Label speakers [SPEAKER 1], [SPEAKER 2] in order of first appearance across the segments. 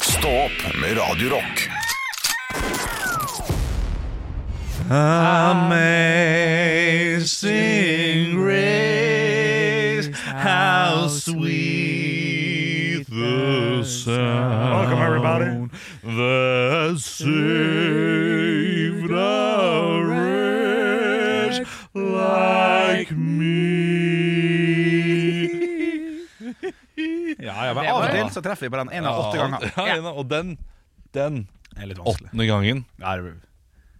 [SPEAKER 1] Stå opp med Radio Rock.
[SPEAKER 2] Amazing grace, how sweet the sound.
[SPEAKER 3] Welcome, everybody.
[SPEAKER 2] That saved a wretch like me.
[SPEAKER 3] Ja,
[SPEAKER 4] Det
[SPEAKER 3] ja, men Av
[SPEAKER 4] var-
[SPEAKER 3] og til så treffer vi på den en av åtte ganger.
[SPEAKER 2] Ja, en av- og den, den
[SPEAKER 3] Det er litt vanskelig.
[SPEAKER 2] åttende gangen.
[SPEAKER 3] Ja, det-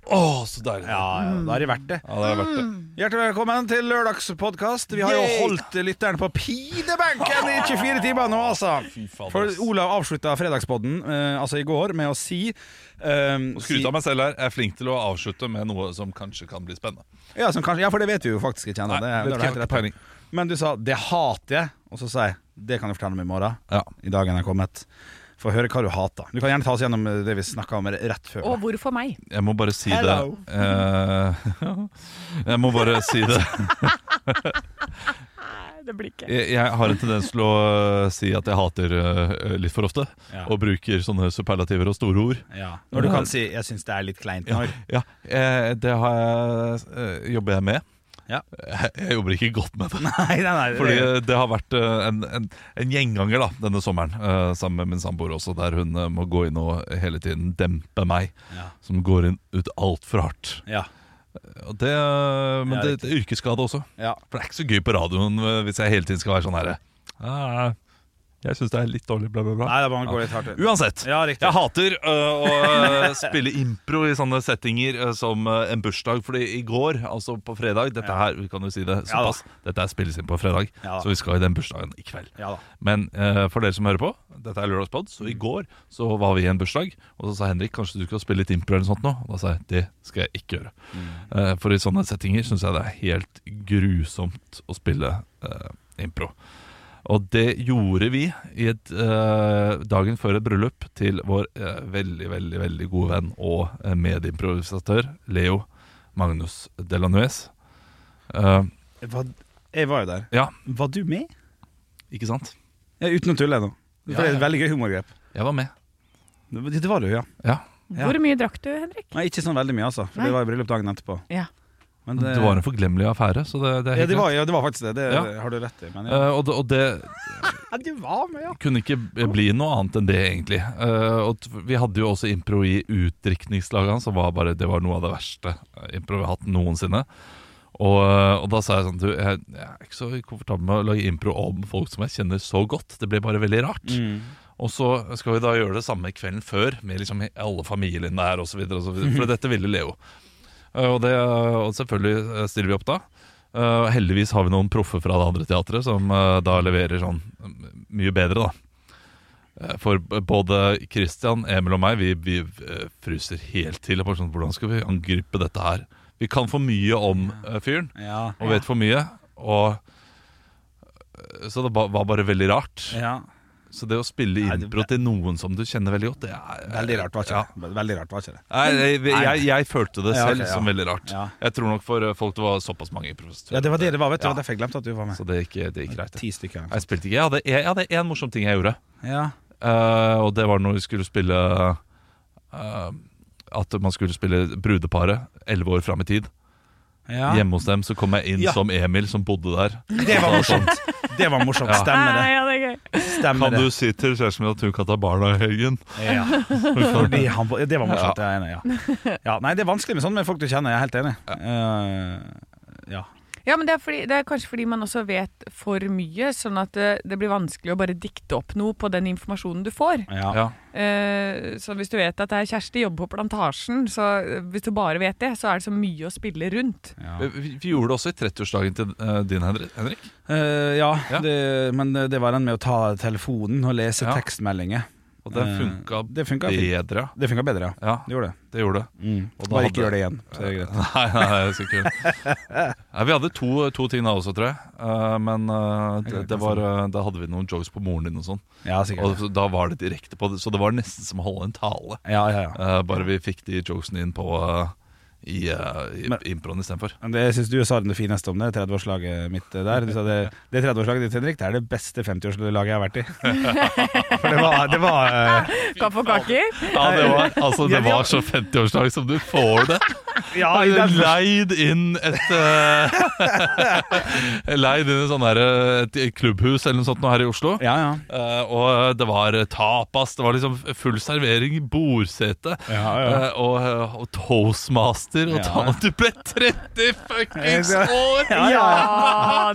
[SPEAKER 2] Å, så deilig.
[SPEAKER 3] ja, ja, da er det verdt det.
[SPEAKER 2] Ja, det er verdt det.
[SPEAKER 3] Hjertelig velkommen til lørdagspodkast. Vi har jo
[SPEAKER 2] Yay!
[SPEAKER 3] holdt lytteren på pinebenken i 24 timer nå, altså.
[SPEAKER 2] Fy fader,
[SPEAKER 3] For
[SPEAKER 2] ass.
[SPEAKER 3] Olav avslutta fredagspodden, eh, altså i går, med å si eh,
[SPEAKER 2] Skryt av meg selv her. Jeg er flink til å avslutte med noe som kanskje kan bli spennende.
[SPEAKER 3] si- Ja, som kanskje, ja, for det vet vi jo faktisk ikke ennå. Det,
[SPEAKER 2] Nei,
[SPEAKER 3] det,
[SPEAKER 2] vet
[SPEAKER 3] har du
[SPEAKER 2] ikke,
[SPEAKER 3] helt
[SPEAKER 2] jeg
[SPEAKER 3] rett
[SPEAKER 2] har ikke peiling.
[SPEAKER 3] på. Men du sa 'det hater jeg', og så sa jeg 'det kan du fortelle om i morgen'.
[SPEAKER 2] Ja.
[SPEAKER 3] I dagen er kommet. Få høre hva du hater. Du kan gjerne ta oss gjennom eh, det vi snakka om rett før.
[SPEAKER 4] Og hvorfor meg?
[SPEAKER 2] Jeg må bare si
[SPEAKER 3] Hello.
[SPEAKER 2] det Eh, Jeg må bare si det.
[SPEAKER 4] Det blir ikke.
[SPEAKER 2] Jeg, jeg har en tendens til å eh, si at jeg hater eh, litt for ofte.
[SPEAKER 3] Ja.
[SPEAKER 2] Og bruker sånne superlativer og store ord.
[SPEAKER 3] Ja. Når du kan si 'jeg syns det er litt kleint
[SPEAKER 2] Ja,
[SPEAKER 3] når'.
[SPEAKER 2] ja eh, Det har jeg, eh, jobber jeg med. Eh,
[SPEAKER 3] Ja.
[SPEAKER 2] Jeg, jeg jobber ikke godt med det.
[SPEAKER 3] Nei, nei, nei.
[SPEAKER 2] Fordi
[SPEAKER 3] det,
[SPEAKER 2] eh, det har vært eh, en, en, en gjenganger da, denne sommeren, eh, sammen med min samboer også, der hun eh, må gå inn og hele tiden dempe meg,
[SPEAKER 3] Ja.
[SPEAKER 2] som går inn ut altfor hardt.
[SPEAKER 3] ja,
[SPEAKER 2] Og det, eh, men
[SPEAKER 3] Ja,
[SPEAKER 2] det, det er yrkesskade også.
[SPEAKER 3] ja.
[SPEAKER 2] For det er ikke så gøy på radioen eh, hvis jeg hele tiden skal være sånn herre «Ah, Jeg syns det er litt dårlig, bla, bla, bla.
[SPEAKER 3] Nei, det bare går litt hardt ut.
[SPEAKER 2] Uansett.
[SPEAKER 3] Ja, riktig.
[SPEAKER 2] Jeg hater øh, å øh, spille impro i sånne settinger øh, som øh, en bursdag. Fordi i går, altså på fredag Dette her, vi kan jo si det
[SPEAKER 3] Ja da.
[SPEAKER 2] såpass. Dette er spilles inn på fredag,
[SPEAKER 3] Ja da.
[SPEAKER 2] så vi skal i den bursdagen i kveld.
[SPEAKER 3] Ja da.
[SPEAKER 2] Men øh, for dere som hører på, dette er Lørdagspod, så i går så var vi i en bursdag. Og så sa Henrik kanskje du skal spille litt impro eller noe sånt nå. Og da sa jeg det skal jeg ikke gjøre.
[SPEAKER 3] Mm.
[SPEAKER 2] Eh, for i sånne settinger syns jeg det er helt grusomt å spille eh, impro. Og det gjorde vi i et, eh, dagen før et bryllup til vår eh, veldig, veldig veldig gode venn og eh, medimprovisatør Leo Magnus Delanuez. Eh,
[SPEAKER 3] Jeg var, jeg var jo der.
[SPEAKER 2] ja,
[SPEAKER 3] Var du med?
[SPEAKER 2] ikke sant?
[SPEAKER 3] Ja, uten å tulle ennå. For
[SPEAKER 2] Ja,
[SPEAKER 3] Det er
[SPEAKER 2] ja.
[SPEAKER 3] et veldig gøy humorgrep.
[SPEAKER 2] Jeg var med.
[SPEAKER 3] Det det var du, ja.
[SPEAKER 2] Ja,
[SPEAKER 3] Ja.
[SPEAKER 4] Hvor mye drakk du, Henrik?
[SPEAKER 3] Nei, ikke sånn veldig mye, altså. For
[SPEAKER 4] Nei.
[SPEAKER 3] det var i bryllup dagen etterpå.
[SPEAKER 4] Ja.
[SPEAKER 3] Men
[SPEAKER 2] Det var en forglemmelig affære. så det, det er
[SPEAKER 3] ja,
[SPEAKER 2] helt
[SPEAKER 3] det
[SPEAKER 2] greit.
[SPEAKER 3] var, ja, det var faktisk det. Det
[SPEAKER 2] Ja.
[SPEAKER 3] har du rett i. Men ja.
[SPEAKER 2] Eh, og, det, og det
[SPEAKER 3] ja, du var med, ja.
[SPEAKER 2] kunne ikke b- bli noe annet enn det, egentlig. Eh, og t- vi hadde jo også impro i utdrikningslagene, som var bare Det var noe av det verste eh, impro vi har hatt noensinne. Og, eh, og da sa jeg sånn Du, jeg, jeg er ikke så komfortabel med å lage impro om folk som jeg kjenner så godt. Det blir bare veldig
[SPEAKER 3] Mm.
[SPEAKER 2] rart. Og så skal vi da gjøre det samme kvelden før, med liksom alle familiene der osv. For dette ville Leo. Eh, Og, det, og selvfølgelig eh, stiller vi opp da. Eh, heldigvis har vi noen proffer fra det andre teatret som eh, da leverer sånn eh, mye bedre, da. Eh, For b- både Christian, Emil og meg, vi, vi eh, fryser helt til. og bare Sånn, hvordan skal vi angripe dette her? Vi kan for mye om eh, fyren
[SPEAKER 3] Ja.
[SPEAKER 2] og vet for mye. Og, eh, så det ba- var bare veldig rart.
[SPEAKER 3] ja.
[SPEAKER 2] Så det å spille
[SPEAKER 3] Nei, det-
[SPEAKER 2] impro til noen som du kjenner veldig godt, det er
[SPEAKER 3] Veldig rart, var ikke
[SPEAKER 2] Ja.
[SPEAKER 3] det? Veldig rart, var ikke det?
[SPEAKER 2] Nei, jeg, jeg, jeg følte det
[SPEAKER 3] Ja,
[SPEAKER 2] selv
[SPEAKER 3] ok, ja.
[SPEAKER 2] som veldig rart.
[SPEAKER 3] Ja.
[SPEAKER 2] Jeg tror nok for eh, folk det var såpass mange improvisatører.
[SPEAKER 3] Ja, det var det det var, vet du.
[SPEAKER 2] Ja.
[SPEAKER 3] Det var Derfor jeg glemte at du var med.
[SPEAKER 2] Så det gikk, det gikk greit. det.
[SPEAKER 3] Ti stykker.
[SPEAKER 2] Jeg spilte ikke. Jeg hadde, jeg, jeg hadde én morsom ting jeg gjorde,
[SPEAKER 3] Ja.
[SPEAKER 2] Eh, og det var når vi skulle spille eh, At man skulle spille brudeparet elleve år fram i tid.
[SPEAKER 3] ja.
[SPEAKER 2] Hjemme hos dem så kom jeg inn
[SPEAKER 3] Ja.
[SPEAKER 2] som Emil, som bodde der. sånn,
[SPEAKER 3] Det var morsomt. Det var morsomt. Stemmer
[SPEAKER 4] Ah,
[SPEAKER 3] det.
[SPEAKER 4] ja, det er gøy.
[SPEAKER 3] Stemmer
[SPEAKER 2] Kan
[SPEAKER 3] det.
[SPEAKER 2] du si til kjæresten min at hun kan ta barna i helgen?
[SPEAKER 3] Ja. Fordi han, ja, det var morsomt, jeg er enig. Ja. Ja, nei, det er vanskelig med sånn med folk du kjenner, jeg er helt enig. Eh, ja.
[SPEAKER 4] Ja, men det er, fordi, det er kanskje fordi man også vet for mye, sånn at det, det blir vanskelig å bare dikte opp noe på den informasjonen du får.
[SPEAKER 3] Ja.
[SPEAKER 2] Ja.
[SPEAKER 4] Eh, så hvis du vet at det er Kjersti jobber på Plantasjen, så eh, hvis du bare vet det, så er det så mye å spille rundt.
[SPEAKER 3] Ja.
[SPEAKER 2] Vi, vi- vi gjorde det også i 30-årsdagen til eh, din, Henri- Henrik.
[SPEAKER 3] Eh, ja,
[SPEAKER 2] Ja.
[SPEAKER 3] Det, men det var den med å ta telefonen og lese
[SPEAKER 2] Ja.
[SPEAKER 3] tekstmeldinger.
[SPEAKER 2] Og det
[SPEAKER 3] Eh,
[SPEAKER 2] funka
[SPEAKER 3] det funka fint.
[SPEAKER 2] bedre.
[SPEAKER 3] Det funka bedre, ja.
[SPEAKER 2] Ja,
[SPEAKER 3] Det gjorde det.
[SPEAKER 2] det gjorde det. Og da
[SPEAKER 3] Bare
[SPEAKER 2] hadde-
[SPEAKER 3] ikke gjør det igjen. Så er det greit.
[SPEAKER 2] Nei, nei, nei, jeg skal ikke gjøre det. Nei, Vi hadde to, to ting da også, tror jeg. Eh, men eh, det, det var, eh, da hadde vi noen jokes på moren din og sånn.
[SPEAKER 3] Ja, sikkert.
[SPEAKER 2] Og så- da var det direkte på det, så det var nesten som å holde en tale.
[SPEAKER 3] Ja, ja, ja.
[SPEAKER 2] Eh, bare vi fikk de jokesene inn på eh, i, uh, i
[SPEAKER 3] Men-
[SPEAKER 2] improen istedenfor.
[SPEAKER 3] Men Det syns du sa det fineste om det, 30-årslaget mitt eh, der. Du sa det, det 30-årslaget ditt, Henrik, det er det beste 50-årslaget jeg har vært i. For det var, det var eh,
[SPEAKER 4] Kaffe og kaker.
[SPEAKER 2] Ja, det var, altså, det
[SPEAKER 3] Ja, vi har-
[SPEAKER 2] var så 50-årsdag som du får det.
[SPEAKER 3] Ja, i
[SPEAKER 2] Jeg
[SPEAKER 3] den,
[SPEAKER 2] hadde leid inn et eh, Leid inn et sånn her, eh, et klubbhus eller noe sånt nå her i Oslo.
[SPEAKER 3] ja, ja.
[SPEAKER 2] Eh, og det var tapas, det var liksom full servering, bordsete
[SPEAKER 3] Ja, ja.
[SPEAKER 2] eh, og, eh, og toastmaster. Og
[SPEAKER 3] Ja.
[SPEAKER 2] ta, du ble 30 fuckings
[SPEAKER 3] Ja,
[SPEAKER 2] år!
[SPEAKER 4] Ja,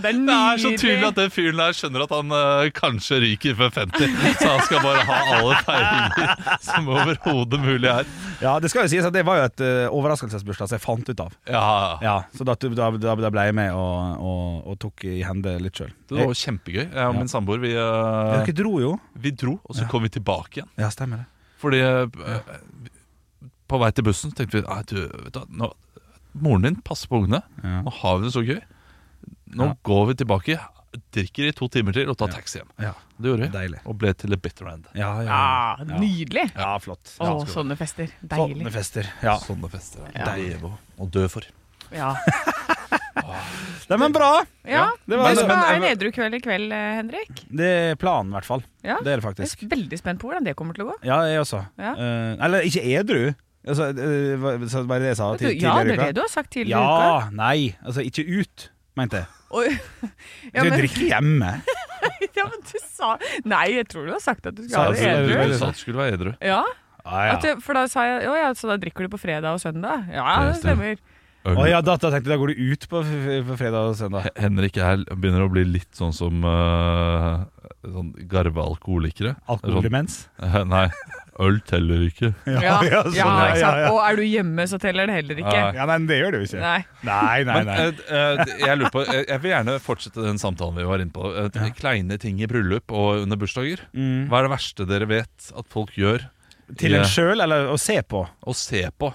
[SPEAKER 4] det
[SPEAKER 2] Det er
[SPEAKER 4] er
[SPEAKER 2] så
[SPEAKER 4] nydelig.
[SPEAKER 2] tydelig at den fyren der skjønner at han eh, kanskje ryker før 50, så han skal bare ha alle feiringer som overhodet mulig er.
[SPEAKER 3] ja, det skal jo sies at det var jo et eh, overraskelsesbursdag som jeg fant ut av.
[SPEAKER 2] Ja,
[SPEAKER 3] Ja, Så da, da, da, da ble jeg med og, og, og tok i hende litt sjøl.
[SPEAKER 2] Det var jo kjempegøy. Jeg og min samboer vi, eh,
[SPEAKER 3] Dere dro jo.
[SPEAKER 2] vi dro, og så kom vi tilbake igjen.
[SPEAKER 3] Ja, stemmer det.
[SPEAKER 2] Fordi eh, på vei til bussen tenkte vi «Nei, du, vet du, hva, nå, Moren din passer på ungene.
[SPEAKER 3] Ja.
[SPEAKER 2] Nå har vi det så gøy. Nå
[SPEAKER 3] Ja.
[SPEAKER 2] går vi tilbake, drikker i to timer til og tar taxi hjem.
[SPEAKER 3] Ja,
[SPEAKER 2] Det gjorde vi.
[SPEAKER 3] Deilig.
[SPEAKER 2] Og ble til the bitter end.
[SPEAKER 3] ja, ja.
[SPEAKER 4] Ja, nydelig.
[SPEAKER 3] ja flott.
[SPEAKER 4] Å,
[SPEAKER 3] Ja,
[SPEAKER 4] sånne fester.
[SPEAKER 3] Sånne
[SPEAKER 4] Deilig.
[SPEAKER 3] fester. Ja.
[SPEAKER 2] Sånne fester er
[SPEAKER 4] Ja.
[SPEAKER 2] deilige å dø for.
[SPEAKER 4] Ja.
[SPEAKER 3] Nei, men bra!
[SPEAKER 4] ja.
[SPEAKER 3] Det,
[SPEAKER 4] Men
[SPEAKER 3] var,
[SPEAKER 4] så
[SPEAKER 3] men,
[SPEAKER 4] er det edru kveld i kveld, eh, Henrik.
[SPEAKER 3] det er planen, i hvert fall.
[SPEAKER 4] Ja.
[SPEAKER 3] Det er det
[SPEAKER 4] Jeg
[SPEAKER 3] faktisk.
[SPEAKER 4] er veldig spent på hvordan det kommer til å gå.
[SPEAKER 3] Ja, jeg også.
[SPEAKER 4] Ja.
[SPEAKER 3] Eh, eller ikke edru. Altså, eh, hva- så var det det jeg sa
[SPEAKER 4] Vet
[SPEAKER 3] ti-
[SPEAKER 4] du, ja, det
[SPEAKER 3] tidligere i
[SPEAKER 4] er det
[SPEAKER 3] uka?
[SPEAKER 4] du har sagt tidligere i uka.
[SPEAKER 3] Ja, nei. Altså ikke ut, mente jeg.
[SPEAKER 4] Oi. Ja,
[SPEAKER 3] Du
[SPEAKER 4] men,
[SPEAKER 3] drikker hjemme.
[SPEAKER 4] ja, men du sa Nei, jeg tror du har sagt at du
[SPEAKER 3] Sa
[SPEAKER 4] skal ha det
[SPEAKER 3] du det?
[SPEAKER 4] edru.
[SPEAKER 2] Du sa det Altså, skulle være edru.
[SPEAKER 4] Ja,
[SPEAKER 3] Ah,
[SPEAKER 4] at, det- for da sa jeg Å ja, så da drikker du på fredag og søndag? Ja,
[SPEAKER 2] Det
[SPEAKER 4] det stemmer.
[SPEAKER 3] Å ja, da, da tenkte jeg da går du ut på, f- på fredag og søndag.
[SPEAKER 2] He- Henrik er, begynner å bli litt sånn som uh, sånn garva alkoholikere.
[SPEAKER 3] Alkohol imens?
[SPEAKER 2] Sånn, nei, øl teller ikke.
[SPEAKER 4] Ja, ja,
[SPEAKER 3] sånn,
[SPEAKER 4] ikke sant.
[SPEAKER 3] ja, ja.
[SPEAKER 4] Og er du hjemme, så teller det heller
[SPEAKER 2] Ja.
[SPEAKER 4] ikke.
[SPEAKER 3] Ja, nei, men det gjør du jo ikke.
[SPEAKER 4] Nei.
[SPEAKER 3] Nei, nei,
[SPEAKER 2] Men
[SPEAKER 3] nei.
[SPEAKER 2] eh, eh, jeg lurer på jeg, jeg vil gjerne fortsette den samtalen vi var inne på. Eh, Kleine ting i bryllup og under bursdager.
[SPEAKER 3] Mm.
[SPEAKER 2] Hva er det verste dere vet at folk gjør
[SPEAKER 3] Til
[SPEAKER 2] Ja.
[SPEAKER 3] en sjøl, eller å se på?
[SPEAKER 2] og ser på?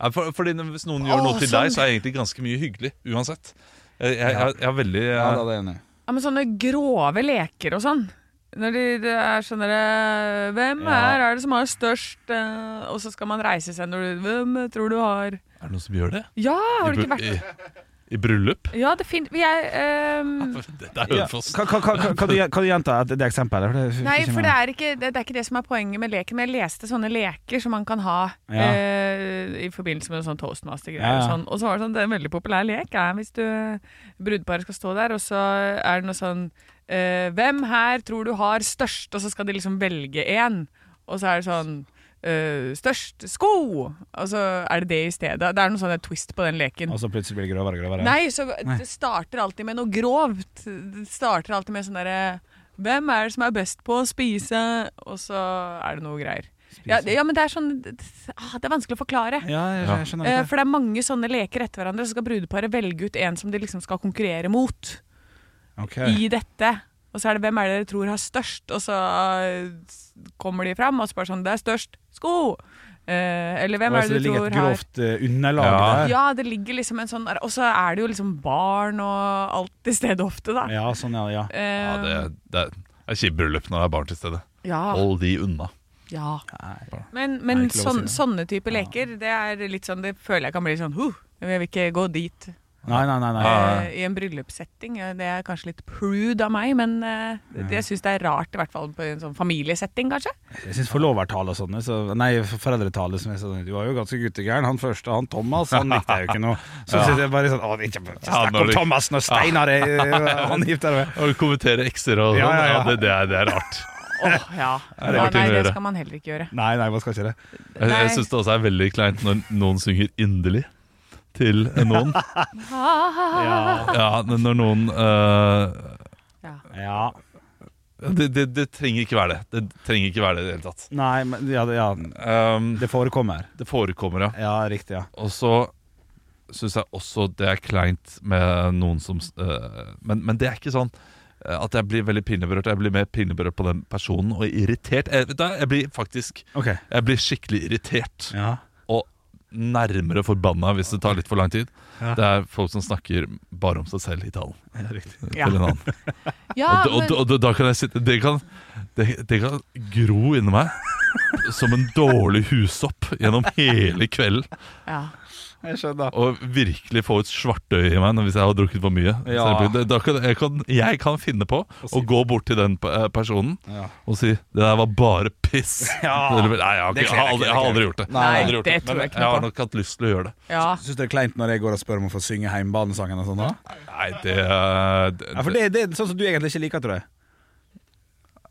[SPEAKER 2] Ja, for, fordi når- Hvis noen gjør noe
[SPEAKER 4] Å,
[SPEAKER 2] til
[SPEAKER 4] sånn.
[SPEAKER 2] deg, så er det egentlig ganske mye hyggelig uansett. Eh, Jeg, jeg, jeg, jeg er veldig eh,
[SPEAKER 3] det er enig.
[SPEAKER 4] Ja, men sånne grove leker og sånn. Når de- det er sånn derre Hvem
[SPEAKER 3] Ja.
[SPEAKER 4] her er det som har størst eh, Og så skal man reise seg når du Hvem tror du har
[SPEAKER 2] Er det noen som gjør det?
[SPEAKER 4] Ja, har
[SPEAKER 2] I
[SPEAKER 4] du
[SPEAKER 2] bru-
[SPEAKER 4] ikke vært
[SPEAKER 2] I, i bryllup?
[SPEAKER 4] Ja, det fin... Jeg ehm,
[SPEAKER 2] Dette er
[SPEAKER 3] Ja.
[SPEAKER 2] Hønefoss.
[SPEAKER 3] Kan, kan, kan, kan, du, kan du gjenta et- det eksempelet? For det,
[SPEAKER 4] Nei, for det er, ikke, det, det er ikke det som er poenget med leken. Men jeg leste sånne leker som man kan ha
[SPEAKER 3] Ja.
[SPEAKER 4] eh, i forbindelse med sånn toastmaster-greier.
[SPEAKER 3] Ja, ja.
[SPEAKER 4] Og sånn. Og så var det sånn, det er en veldig populær lek er hvis du brudeparet skal stå der, og så er det noe sånn eh, Hvem her tror du har størst? Og så skal de liksom velge én. Og så er det sånn eh, størst sko! Og så er det det i stedet. Det er noe sånn twist på den leken.
[SPEAKER 3] Og så plutselig blir det grovere og grovere?
[SPEAKER 4] Nei, så det starter alltid med noe grovt. Det starter alltid med sånn derre Hvem er det som er best på å spise? Og så er det noe greier. Ja, det- ja, men det er sånn ah, Det er vanskelig å forklare.
[SPEAKER 3] Ja, jeg, jeg skjønner
[SPEAKER 4] Eh,
[SPEAKER 3] ikke.
[SPEAKER 4] For det er mange sånne leker etter hverandre, så skal brudeparet velge ut en som de liksom skal konkurrere mot
[SPEAKER 3] Ok.
[SPEAKER 4] Eh, i dette. Og så er det hvem er det dere tror har størst, og så eh, s- kommer de fram og spør sånn Det er størst sko! Eh, eller hvem
[SPEAKER 3] Og
[SPEAKER 4] er
[SPEAKER 3] altså,
[SPEAKER 4] det du
[SPEAKER 3] ligger
[SPEAKER 4] tror
[SPEAKER 3] et
[SPEAKER 4] har
[SPEAKER 3] grovt eh, underlag der.
[SPEAKER 4] ja, det ligger liksom en sånn Og så er det jo liksom barn og alt til stede ofte, da.
[SPEAKER 3] Ja, sånn, ja, ja.
[SPEAKER 2] Ja,
[SPEAKER 4] Eh,
[SPEAKER 2] det, det er- det er kjipt bryllup når det er barn til stede.
[SPEAKER 4] ja,
[SPEAKER 2] Hold de unna.
[SPEAKER 4] ja.
[SPEAKER 3] Nei.
[SPEAKER 4] Men,
[SPEAKER 3] Nei,
[SPEAKER 4] men
[SPEAKER 3] ikke lov å
[SPEAKER 4] sånn,
[SPEAKER 3] si
[SPEAKER 4] sånne type leker, det er litt sånn Det føler jeg kan bli sånn huh, Jeg vil ikke gå dit
[SPEAKER 3] Nei, nei, nei. nei.
[SPEAKER 2] Ja, ja.
[SPEAKER 4] eh, i en bryllupssetting. Eh, Det er kanskje litt prude av meg, men eh, det- jeg syns det er rart, i hvert fall på en sånn familiesetting, kanskje.
[SPEAKER 3] Jeg syns forlovertale og sånne, så, nei, foreldretale som jeg sa Du var jo ganske guttegæren, han første, han Thomas, han likte jeg jo ikke noe. Så synes jeg bare sånn Å, ikke, ikke
[SPEAKER 2] Ja,
[SPEAKER 3] snakk
[SPEAKER 2] når
[SPEAKER 3] om
[SPEAKER 2] du-
[SPEAKER 3] Thomas når Steinar er han gifter seg.
[SPEAKER 2] Og kommentere ekser og sånn. Ja,
[SPEAKER 3] Ja, ja, ja.
[SPEAKER 2] det, det, er, det er rart.
[SPEAKER 4] Åh, ja.
[SPEAKER 2] Ja, det er
[SPEAKER 4] ja.
[SPEAKER 2] rart å
[SPEAKER 4] Nei, det
[SPEAKER 2] gjøre.
[SPEAKER 4] skal man heller ikke gjøre.
[SPEAKER 3] Nei, nei, man skal ikke det.
[SPEAKER 2] Jeg, jeg
[SPEAKER 4] Nei.
[SPEAKER 2] syns det også er veldig kleint når noen synger 'inderlig' til noen.
[SPEAKER 3] Ja.
[SPEAKER 2] Ja, men når noen øh,
[SPEAKER 4] Ja.
[SPEAKER 3] ja.
[SPEAKER 2] det, det, det trenger ikke være det. Det trenger ikke være det i det hele tatt.
[SPEAKER 3] Nei, men ja, det- ja,
[SPEAKER 2] Ehm,
[SPEAKER 3] det forekommer.
[SPEAKER 2] det forekommer, ja.
[SPEAKER 3] Ja, riktig, ja.
[SPEAKER 2] Og så syns jeg også det er kleint med noen som øh, men, men det er ikke sånn øh, at jeg blir veldig pinneberørt. Jeg blir mer pinneberørt på den personen og irritert. Jeg, vet du hva, jeg blir faktisk
[SPEAKER 3] Ok.
[SPEAKER 2] Jeg blir skikkelig irritert.
[SPEAKER 3] Ja.
[SPEAKER 2] og nærmere forbanna hvis det tar litt for lang tid.
[SPEAKER 3] Ja.
[SPEAKER 2] Det er folk som snakker bare om seg selv i talen.
[SPEAKER 3] ja riktig.
[SPEAKER 4] Ja.
[SPEAKER 2] Til en annen.
[SPEAKER 4] Ja,
[SPEAKER 2] og, d- og, d- og, d- da kan jeg sitte Det kan, det, det kan gro inni meg. som en dårlig husopp gjennom hele kvelden.
[SPEAKER 4] Ja.
[SPEAKER 3] Jeg skjønner.
[SPEAKER 2] Og virkelig få ut svartøyet i meg når- hvis jeg har drukket for mye.
[SPEAKER 3] Ja.
[SPEAKER 2] Så jeg- Da kan, jeg, kan, jeg kan finne på
[SPEAKER 3] si-
[SPEAKER 2] å gå bort til den pe- eh, personen
[SPEAKER 3] Ja.
[SPEAKER 2] og si 'det der var bare piss'.
[SPEAKER 3] Ja.
[SPEAKER 2] Eller, Nei, jeg har, ikke,
[SPEAKER 3] Det
[SPEAKER 2] jeg,
[SPEAKER 3] kler
[SPEAKER 2] har aldri,
[SPEAKER 3] deg ikke, det
[SPEAKER 2] jeg har
[SPEAKER 3] kler
[SPEAKER 2] aldri gjort det.
[SPEAKER 3] Nei,
[SPEAKER 2] jeg har aldri gjort
[SPEAKER 4] det tror jeg ikke
[SPEAKER 2] Men
[SPEAKER 4] noe
[SPEAKER 2] jeg har
[SPEAKER 4] på.
[SPEAKER 2] nok hatt lyst til å gjøre det.
[SPEAKER 4] ja.
[SPEAKER 3] Syns du det er kleint når jeg går og spør om å få synge heimbanesangen og sånn? da?
[SPEAKER 2] Nei, det, eh, det,
[SPEAKER 3] Ja, for det, det er sånn som du egentlig ikke liker, tror jeg.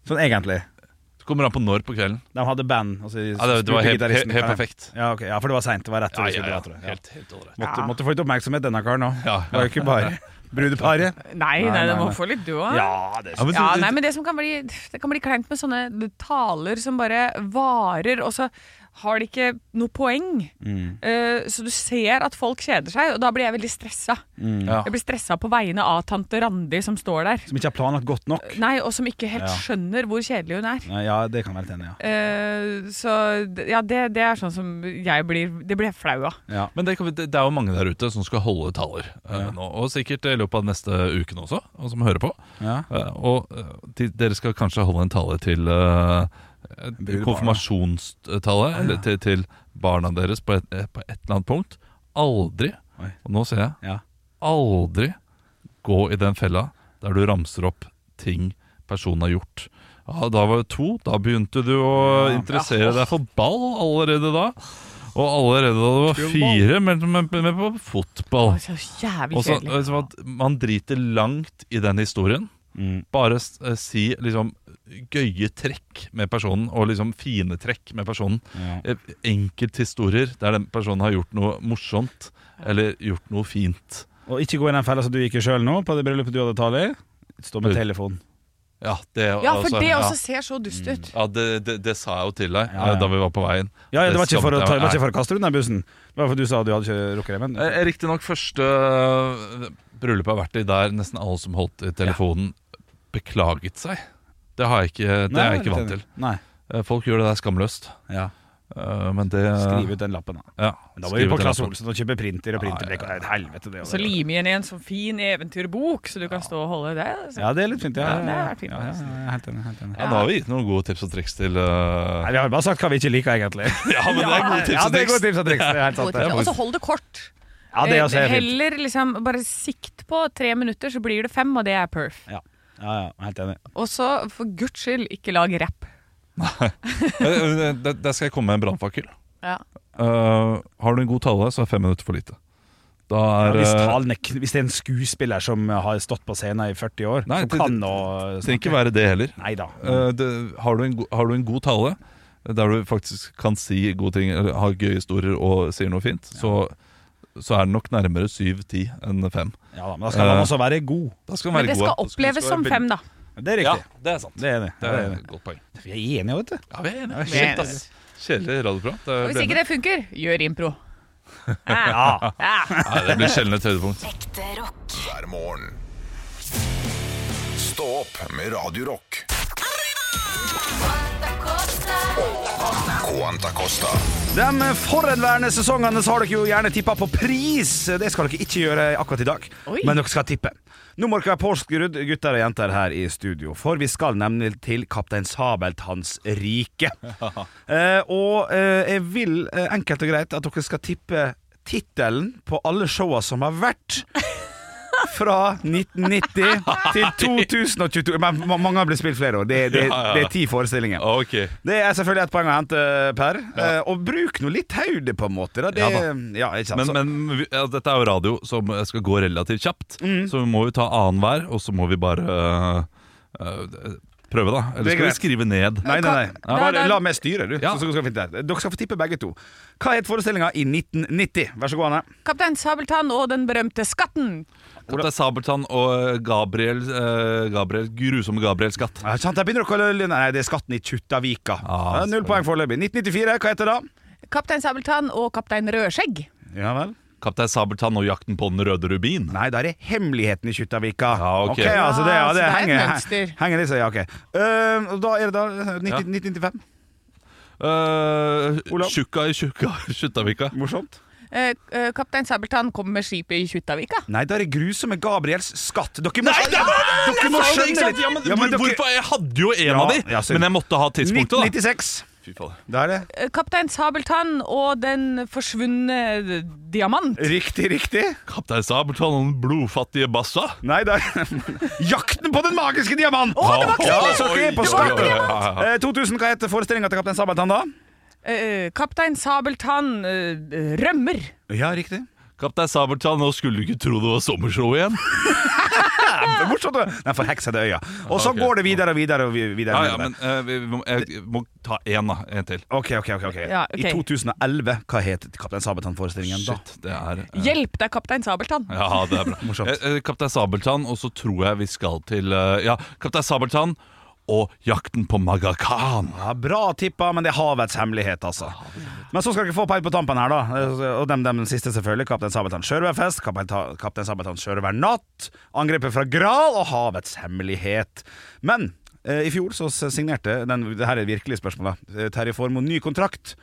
[SPEAKER 3] Sånn egentlig.
[SPEAKER 2] det kommer an på når på kvelden.
[SPEAKER 3] De hadde band. og så
[SPEAKER 2] Ja, det, det var
[SPEAKER 3] spurte
[SPEAKER 2] helt,
[SPEAKER 3] gitaristen,
[SPEAKER 2] helt, helt
[SPEAKER 3] kan jeg-
[SPEAKER 2] perfekt.
[SPEAKER 3] Ja, ok. ja, for det var seint. Det var rett. før
[SPEAKER 2] Ja,
[SPEAKER 3] det skulle
[SPEAKER 2] ja,
[SPEAKER 3] dra,
[SPEAKER 2] ja.
[SPEAKER 3] tror jeg.
[SPEAKER 2] Helt, helt ålrighet.
[SPEAKER 3] Måtte,
[SPEAKER 4] Ja.
[SPEAKER 3] måtte få litt oppmerksomhet, denne karen òg.
[SPEAKER 2] Ja,
[SPEAKER 3] Det var jo ikke bare brudeparet.
[SPEAKER 4] Nei, nei,
[SPEAKER 3] nei,
[SPEAKER 4] det må
[SPEAKER 3] nei.
[SPEAKER 4] få litt du òg.
[SPEAKER 3] Ja, det
[SPEAKER 2] Ja, men
[SPEAKER 4] Ja,
[SPEAKER 2] du-
[SPEAKER 4] nei, men det, som kan bli, det kan bli kleint med sånne taler som bare varer, og så har de ikke noe poeng.
[SPEAKER 3] Mm,
[SPEAKER 4] Eh, så du ser at folk kjeder seg, og da blir jeg veldig stressa.
[SPEAKER 2] Ja.
[SPEAKER 4] Jeg blir stressa på vegne av tante Randi som står der.
[SPEAKER 3] mm. Som ikke har planlagt godt nok.
[SPEAKER 4] Nei, og som ikke helt
[SPEAKER 3] Ja.
[SPEAKER 4] skjønner hvor kjedelig hun er.
[SPEAKER 3] Nei, Ja, det kan være tenne, ja.
[SPEAKER 4] Eh, så d- ja, det, det er sånn som jeg blir Det blir jeg flau av.
[SPEAKER 3] ja.
[SPEAKER 2] Men det, kan vi- det det er jo mange der ute som skal holde taler eh, nå, og sikkert i løpet av neste uken også, og som hører på.
[SPEAKER 3] ja.
[SPEAKER 2] Eh, og eh, de, dere skal kanskje holde en tale til eh, eh,
[SPEAKER 3] Brudepar,
[SPEAKER 2] konfirmasjonstale, eller til, til barna deres på et, eh, på et eller annet punkt. Aldri,
[SPEAKER 3] Oi.
[SPEAKER 2] og nå ser jeg,
[SPEAKER 3] ja.
[SPEAKER 2] aldri gå i den fella der du ramser opp ting personen har gjort. Ja, da var det to, da begynte du å
[SPEAKER 3] Ja.
[SPEAKER 2] interessere deg for ball allerede da. Og allerede da du var fire, men men- men på fotball.
[SPEAKER 4] Å, så jævlig
[SPEAKER 2] Og så
[SPEAKER 4] kjedelig.
[SPEAKER 2] liksom at Man driter langt i den historien.
[SPEAKER 3] Mm.
[SPEAKER 2] Bare s- eh, si liksom gøye trekk med personen, og liksom fine trekk med personen.
[SPEAKER 3] Ja.
[SPEAKER 2] Eh, Enkelthistorier der den personen har gjort noe morsomt, eller gjort noe fint.
[SPEAKER 3] Og ikke gå i den fella som du gikk i sjøl nå, på det bryllupet du hadde tale i. Stå med
[SPEAKER 2] Brud-
[SPEAKER 3] telefon.
[SPEAKER 2] Ja, det,
[SPEAKER 4] Ja, for
[SPEAKER 2] altså,
[SPEAKER 4] det
[SPEAKER 2] ja.
[SPEAKER 4] også ser så dust ut.
[SPEAKER 2] Ja, det, det, det sa jeg jo til deg
[SPEAKER 3] Ja, ja.
[SPEAKER 2] eh, da vi var på veien.
[SPEAKER 3] Ja, ja, det var ikke for å,
[SPEAKER 2] skammet jeg
[SPEAKER 3] ta, det
[SPEAKER 2] meg.
[SPEAKER 3] var ikke for å kaste rundt den bussen. Det var for du sa du hadde ikke rukket det, men
[SPEAKER 2] Eh, Riktignok første eh, bryllupet jeg har vært i der nesten alle som holdt i telefonen, beklaget seg. Det, har jeg ikke, det
[SPEAKER 3] Nei,
[SPEAKER 2] er jeg ikke vant til.
[SPEAKER 3] Nei.
[SPEAKER 2] Eh, Folk gjør det der skamløst.
[SPEAKER 3] Ja.
[SPEAKER 2] Eh, Men det
[SPEAKER 3] Skriv ut den lappen, da.
[SPEAKER 2] Ja,
[SPEAKER 3] Men da var vi på
[SPEAKER 2] skriv
[SPEAKER 3] Claes
[SPEAKER 2] til
[SPEAKER 3] Olsen og kjøpe printer
[SPEAKER 2] Ja,
[SPEAKER 3] og printerblekk. og det er et Helvete, det.
[SPEAKER 4] Og så lime igjen i en sånn fin eventyrbok, så du kan stå og holde det. altså. Så.
[SPEAKER 3] Ja, det er litt fint. Ja,
[SPEAKER 4] Ja, det
[SPEAKER 3] ja,
[SPEAKER 4] er fint.
[SPEAKER 3] ja, ja, ja, helt enig. Helt enig.
[SPEAKER 2] Ja, nå har vi gitt noen gode tips og triks til eh,
[SPEAKER 3] Nei, vi har bare sagt hva vi ikke liker, egentlig.
[SPEAKER 2] Ja, men det er gode tips
[SPEAKER 3] Ja,
[SPEAKER 2] og
[SPEAKER 3] det er
[SPEAKER 2] triks.
[SPEAKER 3] gode tips og triks. Det er helt sant.
[SPEAKER 4] Gode
[SPEAKER 3] det.
[SPEAKER 4] tips. Og så hold det kort.
[SPEAKER 3] Ja, det er også
[SPEAKER 4] Eh,
[SPEAKER 3] helt fint.
[SPEAKER 4] Heller liksom bare sikt på tre minutter, så blir det fem, og det er perf.
[SPEAKER 3] Ja, ja, ja helt enig.
[SPEAKER 4] Og så, for guds skyld, ikke lag rap.
[SPEAKER 2] Eh, eh, Der der skal jeg komme med en brannfakkel.
[SPEAKER 4] Ja.
[SPEAKER 2] Eh, har du en god tale, så er fem minutter for lite. Da
[SPEAKER 3] Ja,
[SPEAKER 2] er
[SPEAKER 3] hvis,
[SPEAKER 2] eh,
[SPEAKER 3] talen er, kn- hvis det er en skuespiller som har stått på scenen i 40 år,
[SPEAKER 2] Nei,
[SPEAKER 3] som
[SPEAKER 2] det-
[SPEAKER 3] kan å
[SPEAKER 2] Det trenger ikke være det heller.
[SPEAKER 3] Nei da.
[SPEAKER 2] Eh, det, har, du en, go- har du en god tale eh, der du faktisk kan si gode ting, eller har gøye historier og sier noe fint, så, så er det nok nærmere syv-ti enn fem.
[SPEAKER 3] Ja, da, men da skal
[SPEAKER 2] Eh.
[SPEAKER 3] man også være god.
[SPEAKER 2] Da skal den
[SPEAKER 4] Men
[SPEAKER 2] være
[SPEAKER 4] det
[SPEAKER 2] god,
[SPEAKER 4] skal
[SPEAKER 2] da. Da du-
[SPEAKER 4] oppleves
[SPEAKER 2] skal
[SPEAKER 4] som
[SPEAKER 2] være
[SPEAKER 4] fem, da.
[SPEAKER 3] Det er
[SPEAKER 2] veldig- Ja,
[SPEAKER 3] riktig.
[SPEAKER 2] det er sant.
[SPEAKER 3] Det er enig.
[SPEAKER 2] Det er et godt poeng.
[SPEAKER 3] Vi er enige, vet du.
[SPEAKER 2] Ja, vi er enige.
[SPEAKER 3] Ja,
[SPEAKER 2] Shit,
[SPEAKER 4] shit,
[SPEAKER 2] ass. Kjedelig radioprogram. Det
[SPEAKER 4] Og
[SPEAKER 2] ble-
[SPEAKER 4] hvis ikke det funker, gjør impro.
[SPEAKER 3] Ja.
[SPEAKER 4] Ja.
[SPEAKER 2] Nei, det blir sjelden et høydepunkt.
[SPEAKER 5] Ekte rock.
[SPEAKER 1] hver morgen. Stå opp med Radio Rock. Quanta Costa.
[SPEAKER 3] De forhenværende sesongene så har dere jo gjerne tippa på pris. Det skal dere ikke gjøre akkurat i dag,
[SPEAKER 4] Oi.
[SPEAKER 3] men dere skal tippe. Nå må dere være påskrudd, gutter og jenter her i studio, for vi skal nemlig til Kaptein Sabeltanns rike. Eh, og eh, jeg vil eh, enkelt og greit at dere skal tippe tittelen på alle showa som har vært. Fra 1990 til 2022. Men ma- mange har blitt spilt flere år. Det, det,
[SPEAKER 2] Ja, ja.
[SPEAKER 3] det er ti forestillinger.
[SPEAKER 2] Ok.
[SPEAKER 3] Det er selvfølgelig et poeng å hente, Per. Eh, og bruk nå litt hodet, på en måte. Da. Det,
[SPEAKER 2] Ja
[SPEAKER 3] ja,
[SPEAKER 2] da.
[SPEAKER 3] ikke sant?
[SPEAKER 2] Men,
[SPEAKER 3] Så-
[SPEAKER 2] men vi- ja, dette er jo radio som skal gå relativt kjapt,
[SPEAKER 3] Mm.
[SPEAKER 2] så vi må jo ta annenhver, og så må vi bare øh, øh, prøve, da.
[SPEAKER 3] Det
[SPEAKER 2] Eller
[SPEAKER 3] er
[SPEAKER 2] skal
[SPEAKER 3] greit.
[SPEAKER 2] vi skrive ned?
[SPEAKER 3] nei, nei, nei.
[SPEAKER 4] Ja. Da-
[SPEAKER 3] Bare
[SPEAKER 4] da-
[SPEAKER 3] la meg styre, du.
[SPEAKER 2] Ja.
[SPEAKER 3] Så, så skal vi finne det. Dere skal få tippe begge to. Hva het forestillinga i 1990? Vær så god, Anne.
[SPEAKER 4] Kaptein Sabeltann og den berømte skatten.
[SPEAKER 2] Kaptein Sabeltann og Gabriel, eh, Gabriel grusomme Gabriel Skatt.
[SPEAKER 3] Ja, ikke sant, der begynner dere å lø- Nei, det er Skatten i Kjuttaviga.
[SPEAKER 2] Ja,
[SPEAKER 3] Ja, Null poeng foreløpig. 1994, hva heter det da?
[SPEAKER 4] Kaptein Sabeltann og kaptein Rødskjegg.
[SPEAKER 3] Ja vel?
[SPEAKER 2] Kaptein Sabeltann og Jakten på den røde rubin.
[SPEAKER 3] Nei, da er det Hemmeligheten i Kjuttaviga.
[SPEAKER 2] Ja, ok.
[SPEAKER 3] altså det,
[SPEAKER 4] Ja,
[SPEAKER 3] ja, det,
[SPEAKER 4] Ah, så det er et
[SPEAKER 3] henger,
[SPEAKER 4] mønster.
[SPEAKER 3] henger litt, så ja, ok. Eh, og da er det da eh, 90, 1995.
[SPEAKER 2] Uh,
[SPEAKER 3] Olav?
[SPEAKER 2] tjukka i tjukka Kjuttaviga.
[SPEAKER 3] Morsomt.
[SPEAKER 4] Eh, eh, Kaptein Sabeltann kommer med skipet i Kjuttaviga.
[SPEAKER 3] Nei, det er det grusomme Gabriels skatt. Dere må,
[SPEAKER 2] Nei, det var
[SPEAKER 3] dere må skjønne litt.
[SPEAKER 2] Ja, men,
[SPEAKER 3] Ja, men
[SPEAKER 2] hvor-
[SPEAKER 3] dere-
[SPEAKER 2] hvorfor? Jeg hadde jo en
[SPEAKER 3] Ja,
[SPEAKER 2] av de,
[SPEAKER 3] ja, sorry.
[SPEAKER 2] men jeg måtte ha tidspunktet, da.
[SPEAKER 3] 1996.
[SPEAKER 2] Fy fader.
[SPEAKER 3] Det er det.
[SPEAKER 4] Eh, Kaptein Sabeltann og den forsvunne diamant.
[SPEAKER 3] Riktig, riktig.
[SPEAKER 2] Kaptein Sabeltann og den blodfattige Bassa.
[SPEAKER 3] Nei, det er Jakten på den magiske diamant!
[SPEAKER 4] Å, det var ikke
[SPEAKER 3] ja,
[SPEAKER 4] det!
[SPEAKER 3] så ok, på
[SPEAKER 2] Det var
[SPEAKER 3] starten.
[SPEAKER 2] ikke diamant!
[SPEAKER 3] Eh, 2000, hva heter forestillinga til Kaptein Sabeltann, da?
[SPEAKER 4] Eh, Kaptein Sabeltann eh, rømmer.
[SPEAKER 3] Ja, riktig.
[SPEAKER 2] Kaptein Sabeltann, nå skulle du ikke tro det var sommershow igjen.
[SPEAKER 3] Det er morsomt. da. Den forheksede øya. Og så
[SPEAKER 2] Ok.
[SPEAKER 3] går det videre og videre. og vi- videre,
[SPEAKER 2] Ja,
[SPEAKER 3] og
[SPEAKER 2] ja,
[SPEAKER 3] videre.
[SPEAKER 2] men eh, vi, vi må, jeg må ta én, da. En til.
[SPEAKER 3] Ok, ok, ok. ok.
[SPEAKER 4] Ja, ok.
[SPEAKER 3] I 2011, hva het Kaptein Sabeltann-forestillingen da?
[SPEAKER 2] Shit, det er eh,
[SPEAKER 4] Hjelp deg, Kaptein Sabeltann.
[SPEAKER 2] Ja, det er bra.
[SPEAKER 3] Morsomt.
[SPEAKER 2] Eh, eh, Kaptein Sabeltann, og så tror jeg vi skal til eh, Ja, Kaptein Sabeltann og Jakten på Magakan.
[SPEAKER 3] Ja, bra tippa, men det er havets hemmelighet, altså. Men så skal dere få peil på tampen her, da. Og dem, dem siste, selvfølgelig. Kaptein Sabeltann Sjørøverfest, Kaptein Ta- Kaptein Sabeltann Sjørøvernatt, Angrepet fra Gral og Havets hemmelighet. Men eh, i fjor så signerte den, det her er virkelig spørsmålet, eh, Terje Formoe ny kontrakt.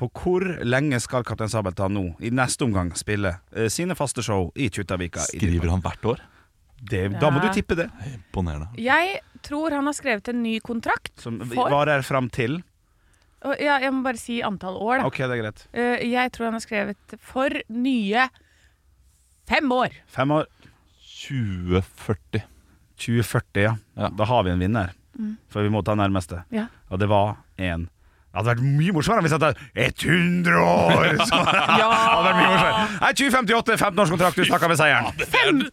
[SPEAKER 3] På hvor lenge skal Kaptein Sabeltann nå, i neste omgang, spille eh, sine faste show i Kjuttaviga? i
[SPEAKER 2] Skriver han hvert år?
[SPEAKER 3] Det, da må du tippe det.
[SPEAKER 2] Imponerende.
[SPEAKER 4] Jeg tror han har skrevet en ny kontrakt.
[SPEAKER 3] Som
[SPEAKER 4] For?
[SPEAKER 3] varer fram til.
[SPEAKER 4] Å, Ja, jeg må bare si antall år, da.
[SPEAKER 3] Ok, det er greit.
[SPEAKER 4] Eh, jeg tror han har skrevet for nye fem år.
[SPEAKER 3] Fem år.
[SPEAKER 2] 2040.
[SPEAKER 3] 2040, ja.
[SPEAKER 2] Ja.
[SPEAKER 3] Da har vi en vinner. For vi må ta nærmeste.
[SPEAKER 4] Ja.
[SPEAKER 3] Og det var en Det hadde vært mye morsommere hvis det hadde vært 100 år! Så det hadde vært mye morsommere. Nei, 2058, 15-årskontrakt, du snakker med seieren.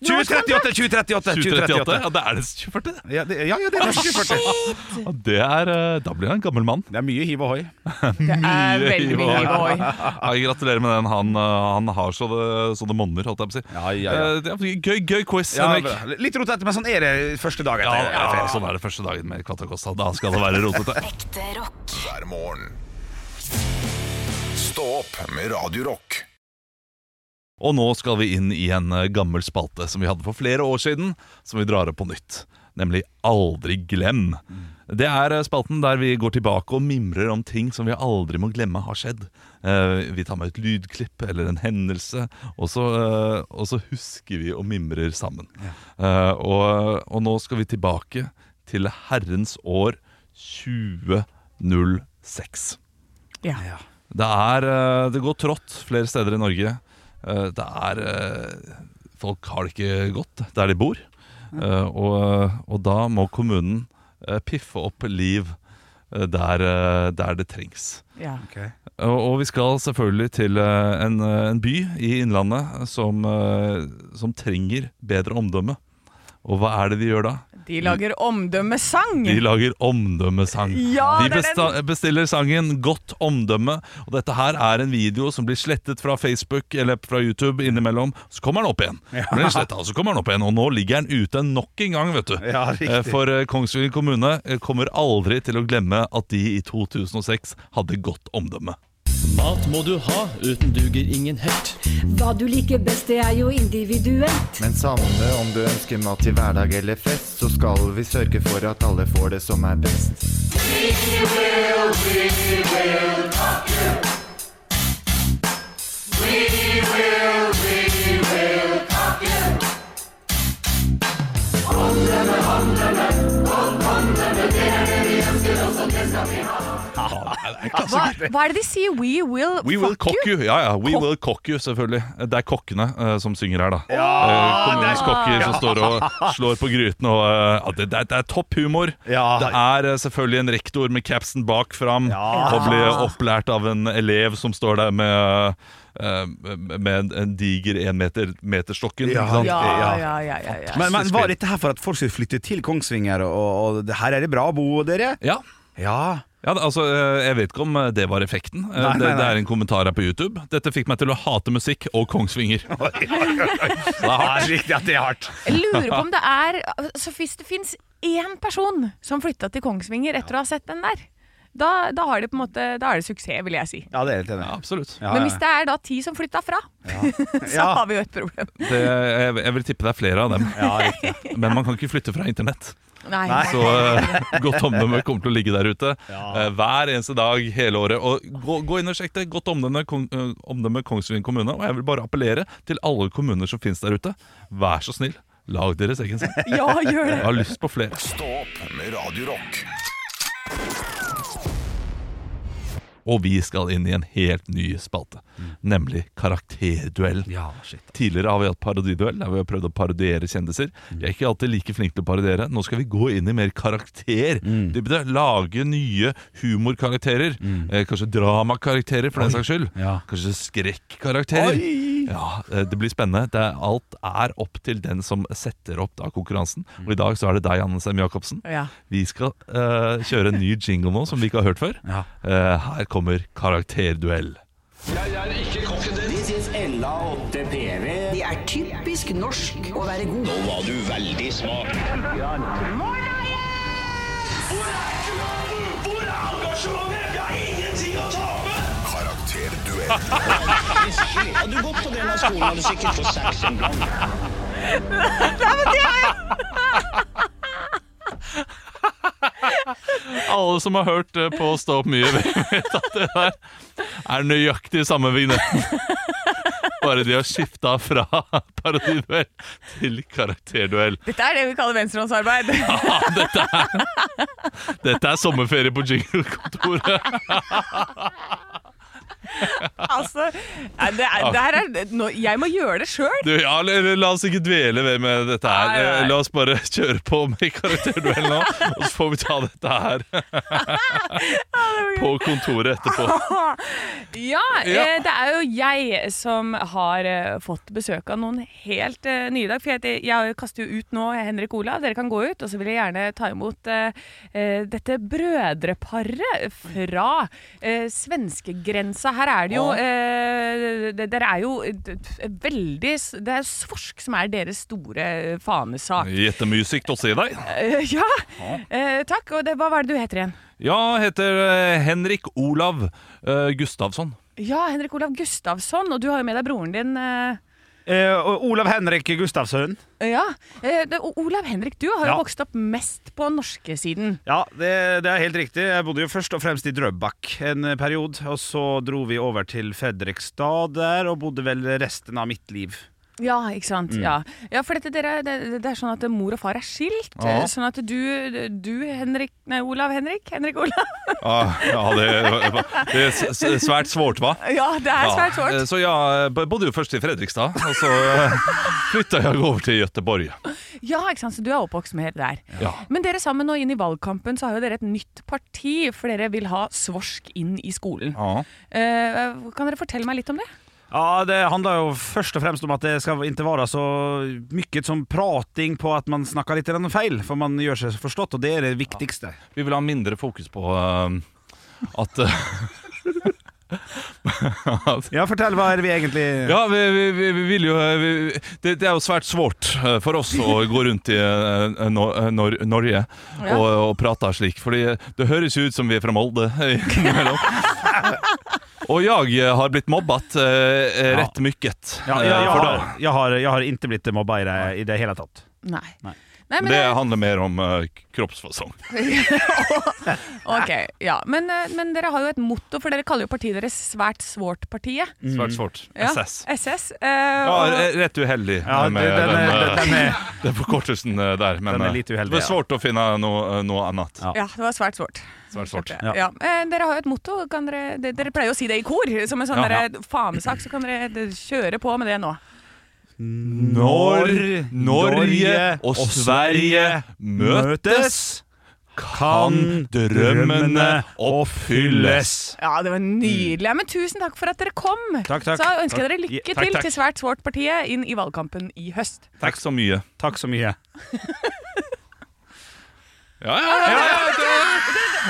[SPEAKER 3] 2038, 2038,
[SPEAKER 2] 2038?
[SPEAKER 3] 2038.
[SPEAKER 2] Ja, det er det 2040.
[SPEAKER 3] Ja, det, ja, ja, det er 2040.
[SPEAKER 2] Ja, det er, eh, da blir han en gammel mann.
[SPEAKER 3] Det er mye hiv og hoi.
[SPEAKER 4] Det er
[SPEAKER 2] Mye
[SPEAKER 4] veldig mye
[SPEAKER 2] hiv og hoi.
[SPEAKER 4] hoi.
[SPEAKER 2] Ja, jeg gratulerer med den. Han, eh, han har så det, så det monner, holdt jeg på å si.
[SPEAKER 3] Ja, ja, ja.
[SPEAKER 2] Eh, det er Gøy, gøy quiz,
[SPEAKER 3] Ja,
[SPEAKER 2] Henrik.
[SPEAKER 3] litt rotete, men sånn er det første dag
[SPEAKER 2] Ja,
[SPEAKER 3] etter.
[SPEAKER 2] ja, sånn er det første dagen med Kvatakosta. Da skal det være rotete.
[SPEAKER 5] Ekte rock.
[SPEAKER 1] hver morgen. Stå opp med Radio Rock.
[SPEAKER 2] Og nå skal vi inn i en eh, gammel spalte som vi hadde for flere år siden, som vi drar opp på nytt. Nemlig Aldri glem. Det er eh, spalten der vi går tilbake og mimrer om ting som vi aldri må glemme har skjedd. Eh, Vi tar med et lydklipp eller en hendelse, og så, eh, og så husker vi og mimrer sammen. Eh, Og, og nå skal vi tilbake til herrens år 2006.
[SPEAKER 4] Ja.
[SPEAKER 2] Det, er, eh, det går trått flere steder i Norge. Eh, Det er eh, Folk har det ikke godt der de bor. Eh, Og, og da må kommunen eh, piffe opp liv eh, der, eh, der det trengs.
[SPEAKER 4] ja.
[SPEAKER 3] Ok.
[SPEAKER 2] Og, og vi skal selvfølgelig til eh, en, eh, en by i Innlandet som, eh, som trenger bedre omdømme. Og hva er det de gjør da?
[SPEAKER 4] De lager omdømmesang.
[SPEAKER 2] De lager omdømmesang.
[SPEAKER 4] Ja,
[SPEAKER 2] de
[SPEAKER 4] det er
[SPEAKER 2] besta bestiller sangen 'Godt omdømme'. Og dette her er en video som blir slettet fra Facebook eller fra YouTube innimellom. Så kommer den opp igjen. Blir den slettet, og så kommer den opp igjen. Og nå ligger den ute nok en gang, vet du.
[SPEAKER 3] Ja, riktig.
[SPEAKER 2] Eh, For eh, Kongsvinger kommune eh, kommer aldri til å glemme at de i 2006 hadde godt omdømme.
[SPEAKER 6] Mat må du ha, uten duger ingen helt.
[SPEAKER 7] Hva du liker best, det er jo individuelt.
[SPEAKER 8] Men samme om du ønsker mat til hverdag eller fest, så skal vi sørge for at alle får det som er best.
[SPEAKER 4] Hva, hva er det de sier? We will
[SPEAKER 2] We will
[SPEAKER 4] fuck
[SPEAKER 2] cock
[SPEAKER 4] you?
[SPEAKER 2] you. Ja, ja. We will cock you, selvfølgelig. Det er kokkene eh, som synger her, da. Eh, kommunens kokker som står og slår på gryten. Og, eh, ja, det, det, er- det er topp humor.
[SPEAKER 3] Ja.
[SPEAKER 2] Det er eh, selvfølgelig en rektor med capsen bak fram
[SPEAKER 3] Ja.
[SPEAKER 2] og blir opplært av en elev som står der med eh, med en- en diger enmeterstokken.
[SPEAKER 3] Ja.
[SPEAKER 2] Ja.
[SPEAKER 4] Ja,
[SPEAKER 3] Ja.
[SPEAKER 4] ja, ja, ja, ja.
[SPEAKER 3] Men, men var dette her for at folk skulle flytte til Kongsvinger, og, og det her er det bra å bo, dere?
[SPEAKER 2] Ja.
[SPEAKER 3] Ja.
[SPEAKER 2] ja, det- altså eh, Jeg vet ikke om eh, det var effekten. Eh,
[SPEAKER 3] Nei, nei,
[SPEAKER 2] Det, det
[SPEAKER 3] nei.
[SPEAKER 2] er en kommentar her på YouTube. Dette fikk meg til å hate musikk og Kongsvinger. Så det er hardt.
[SPEAKER 3] Ja, riktig at det er hardt.
[SPEAKER 4] Jeg lurer på om det er altså, Hvis det fins én person som flytta til Kongsvinger etter å ha sett den der, da, da, har det på en måte, da er det suksess, vil jeg si.
[SPEAKER 3] Ja, det er jeg helt enig. i.
[SPEAKER 2] Ja, absolutt.
[SPEAKER 3] Ja,
[SPEAKER 4] Men
[SPEAKER 3] ja.
[SPEAKER 4] hvis det er da ti som flytta fra, så
[SPEAKER 3] Ja.
[SPEAKER 4] har vi jo et problem.
[SPEAKER 2] Det, jeg, jeg vil tippe det er flere av dem. Men man kan ikke flytte fra internett.
[SPEAKER 4] Nei.
[SPEAKER 2] Så eh, godt omdømme kommer til å ligge der ute eh, hver eneste dag hele året. Og gå, gå inn og sjekk det. Godt omdømme, Kong, eh, omdømme Kongsvinger kommune. Og jeg vil bare appellere til alle kommuner som finnes der ute. Vær så snill, lag deres egen sang.
[SPEAKER 4] Ja, gjør det.
[SPEAKER 2] Jeg har lyst på flere.
[SPEAKER 1] Stå opp med Radio Rock.
[SPEAKER 2] Og vi skal inn i en helt ny spalte, nemlig karakterduellen.
[SPEAKER 3] Ja, shit.
[SPEAKER 2] Tidligere har vi hatt parodiduell, der vi har prøvd å parodiere kjendiser. Vi er ikke alltid like flinke til å parodiere. Nå skal vi gå inn i mer karakter.
[SPEAKER 3] Mm.
[SPEAKER 2] Det betyr Lage nye humorkarakterer. Eh, kanskje dramakarakterer, for den saks skyld.
[SPEAKER 3] Ja.
[SPEAKER 2] Kanskje skrekkarakterer. Ja, eh, det blir spennende. Det er, alt er opp til den som setter opp da, konkurransen.
[SPEAKER 3] Mm.
[SPEAKER 2] Og i dag så er det deg, Anne Sem Jacobsen.
[SPEAKER 4] Ja.
[SPEAKER 2] Vi skal eh, kjøre en ny jingle nå, som vi ikke har hørt før.
[SPEAKER 3] Ja.
[SPEAKER 2] Eh, her kommer Karakterduell.
[SPEAKER 5] This is Ella 8 PV. Det er typisk norsk å være god. Nå var du veldig smart.
[SPEAKER 9] Hvor er engasjementet? Vi har ingenting å tape!
[SPEAKER 1] Karakterduell.
[SPEAKER 5] Hadde du gått på denne skolen, hadde du sikkert fått seks en blank.
[SPEAKER 2] Alle som har hørt eh, på Stå opp mye, vet at det der er nøyaktig samme vignetten. Bare de har skifta fra parodiduell til karakterduell.
[SPEAKER 4] Dette er det vi kaller venstrehåndsarbeid.
[SPEAKER 2] Ah, dette, er, dette er sommerferie på jinglekontoret.
[SPEAKER 4] altså, nei, det
[SPEAKER 3] Ah.
[SPEAKER 4] er, det her er, nå, jeg må gjøre det sjøl.
[SPEAKER 2] Du, ja, la la oss ikke dvele ved med dette her.
[SPEAKER 4] Nei, nei.
[SPEAKER 2] Eh, La oss bare kjøre på med karakterduell nå, og så får vi ta dette her på kontoret etterpå.
[SPEAKER 4] Ja,
[SPEAKER 2] Ja.
[SPEAKER 4] Eh, det er jo jeg som har eh, fått besøk av noen helt eh, nye i dag. For jeg, heter- jeg kaster jo ut nå Henrik Olav, dere kan gå ut. Og så vil jeg gjerne ta imot eh, eh, dette brødreparet fra eh, svenskegrensa. Her er det jo eh, det- Dere er jo eh, d- veldig s- Det er Svorsk som er deres store eh, fanesak.
[SPEAKER 2] Jettemysigt å se deg.
[SPEAKER 4] Eh, ja, eh, takk. Og det, hva var det du heter igjen?
[SPEAKER 2] Ja, heter eh, Henrik Olav eh, Gustavsson.
[SPEAKER 4] Ja, Henrik Olav Gustavsson, og du har jo med deg broren din. eh,
[SPEAKER 3] Eh, og Olav Henrik Gustavsson.
[SPEAKER 4] Ja, eh, det, og Olav Henrik, du har
[SPEAKER 3] Ja.
[SPEAKER 4] jo vokst opp mest på norske siden.
[SPEAKER 3] Ja, det, det er helt riktig. Jeg bodde jo først og fremst i Drøbak en periode. Og så dro vi over til Fredrikstad der, og bodde vel resten av mitt liv.
[SPEAKER 4] Ja, ikke sant? Ja. ja, for dette, dere, det, det er sånn at mor og far er skilt. eh, Sånn at du, du Henrik, nei, Olav Henrik, Henrik Olav.
[SPEAKER 2] Ah, ja, det, det er s- s- svært svårt, hva?
[SPEAKER 4] Ja, det er
[SPEAKER 2] Ja, eh,
[SPEAKER 4] svært svårt.
[SPEAKER 2] Så jeg bodde jo først i Fredrikstad, og så flytta jeg over til Gøteborg.
[SPEAKER 4] Ja, ikke sant? Så du er oppvokst med det der.
[SPEAKER 2] Ja.
[SPEAKER 4] Men dere sammen nå inn i valgkampen, så har jo dere et nytt parti, for dere vil ha svorsk inn i skolen.
[SPEAKER 2] Ja.
[SPEAKER 4] Eh, kan dere fortelle meg litt om det?
[SPEAKER 3] Ja, Det handler jo først og fremst om at det skal ikke være så mye sånn prating på at man snakker litt grann feil, for man gjør seg forstått, og det er det viktigste.
[SPEAKER 2] Vi vil ha mindre fokus på eh, at eh,
[SPEAKER 3] Ja, fortell, hva er det vi egentlig
[SPEAKER 2] Ja, vi, vi, vi, vi vil jo eh, vi, det, det er jo svært svårt eh, for oss å gå rundt i eh, Nor Nor Norge
[SPEAKER 4] Ja.
[SPEAKER 2] og, og prate slik, fordi eh, det høres jo ut som vi er fra Molde eh, innimellom. Og jeg eh, har blitt mobbet eh, rett mykket.
[SPEAKER 3] Ja,
[SPEAKER 2] eh,
[SPEAKER 3] jeg, jeg,
[SPEAKER 2] for
[SPEAKER 3] har,
[SPEAKER 2] da.
[SPEAKER 3] jeg, har, jeg har ikke blitt mobba i det, i det hele tatt.
[SPEAKER 4] Nei.
[SPEAKER 3] Nei.
[SPEAKER 4] Nei, men
[SPEAKER 2] Det
[SPEAKER 4] det-
[SPEAKER 2] handler mer om eh, kroppsfasong.
[SPEAKER 4] Ok, ja. Men, eh, men dere har jo et motto, for dere kaller jo partiet deres Svært svårt-partiet.
[SPEAKER 3] Mm.
[SPEAKER 2] Svært svårt.
[SPEAKER 4] Ja,
[SPEAKER 2] SS.
[SPEAKER 4] SS. eh,
[SPEAKER 2] Ja,
[SPEAKER 4] og-
[SPEAKER 2] re- rett uheldig
[SPEAKER 3] Ja,
[SPEAKER 2] med
[SPEAKER 3] den-
[SPEAKER 2] den,
[SPEAKER 3] den-
[SPEAKER 2] eh,
[SPEAKER 3] den er-
[SPEAKER 2] den forkortelsen eh, der. Men
[SPEAKER 3] Den er
[SPEAKER 2] eh,
[SPEAKER 3] litt uheldig,
[SPEAKER 2] det var
[SPEAKER 3] ja.
[SPEAKER 2] svårt å finne noe, eh, noe annet.
[SPEAKER 3] Ja.
[SPEAKER 4] ja, det var svært svårt.
[SPEAKER 2] Svært svårt.
[SPEAKER 4] Ja. Eh, Dere har jo et motto. Kan dere, de- dere pleier jo å si det i kor, som en sånn
[SPEAKER 2] Ja, ja.
[SPEAKER 4] derre fanesak. Så kan dere de- kjøre på med det nå.
[SPEAKER 2] Når Norge og Sverige møtes, kan drømmene oppfylles.
[SPEAKER 4] Ja, det var nydelig. Ja, men tusen takk for at dere kom.
[SPEAKER 3] Takk, takk.
[SPEAKER 4] Så ønsker jeg dere
[SPEAKER 3] Ja,
[SPEAKER 4] lykke
[SPEAKER 3] takk,
[SPEAKER 4] til
[SPEAKER 3] takk.
[SPEAKER 4] til Svært svårt-partiet inn i valgkampen i høst.
[SPEAKER 2] Takk så mye.
[SPEAKER 3] Takk så mye.
[SPEAKER 2] Ja, ja, ja, ja, ja, det,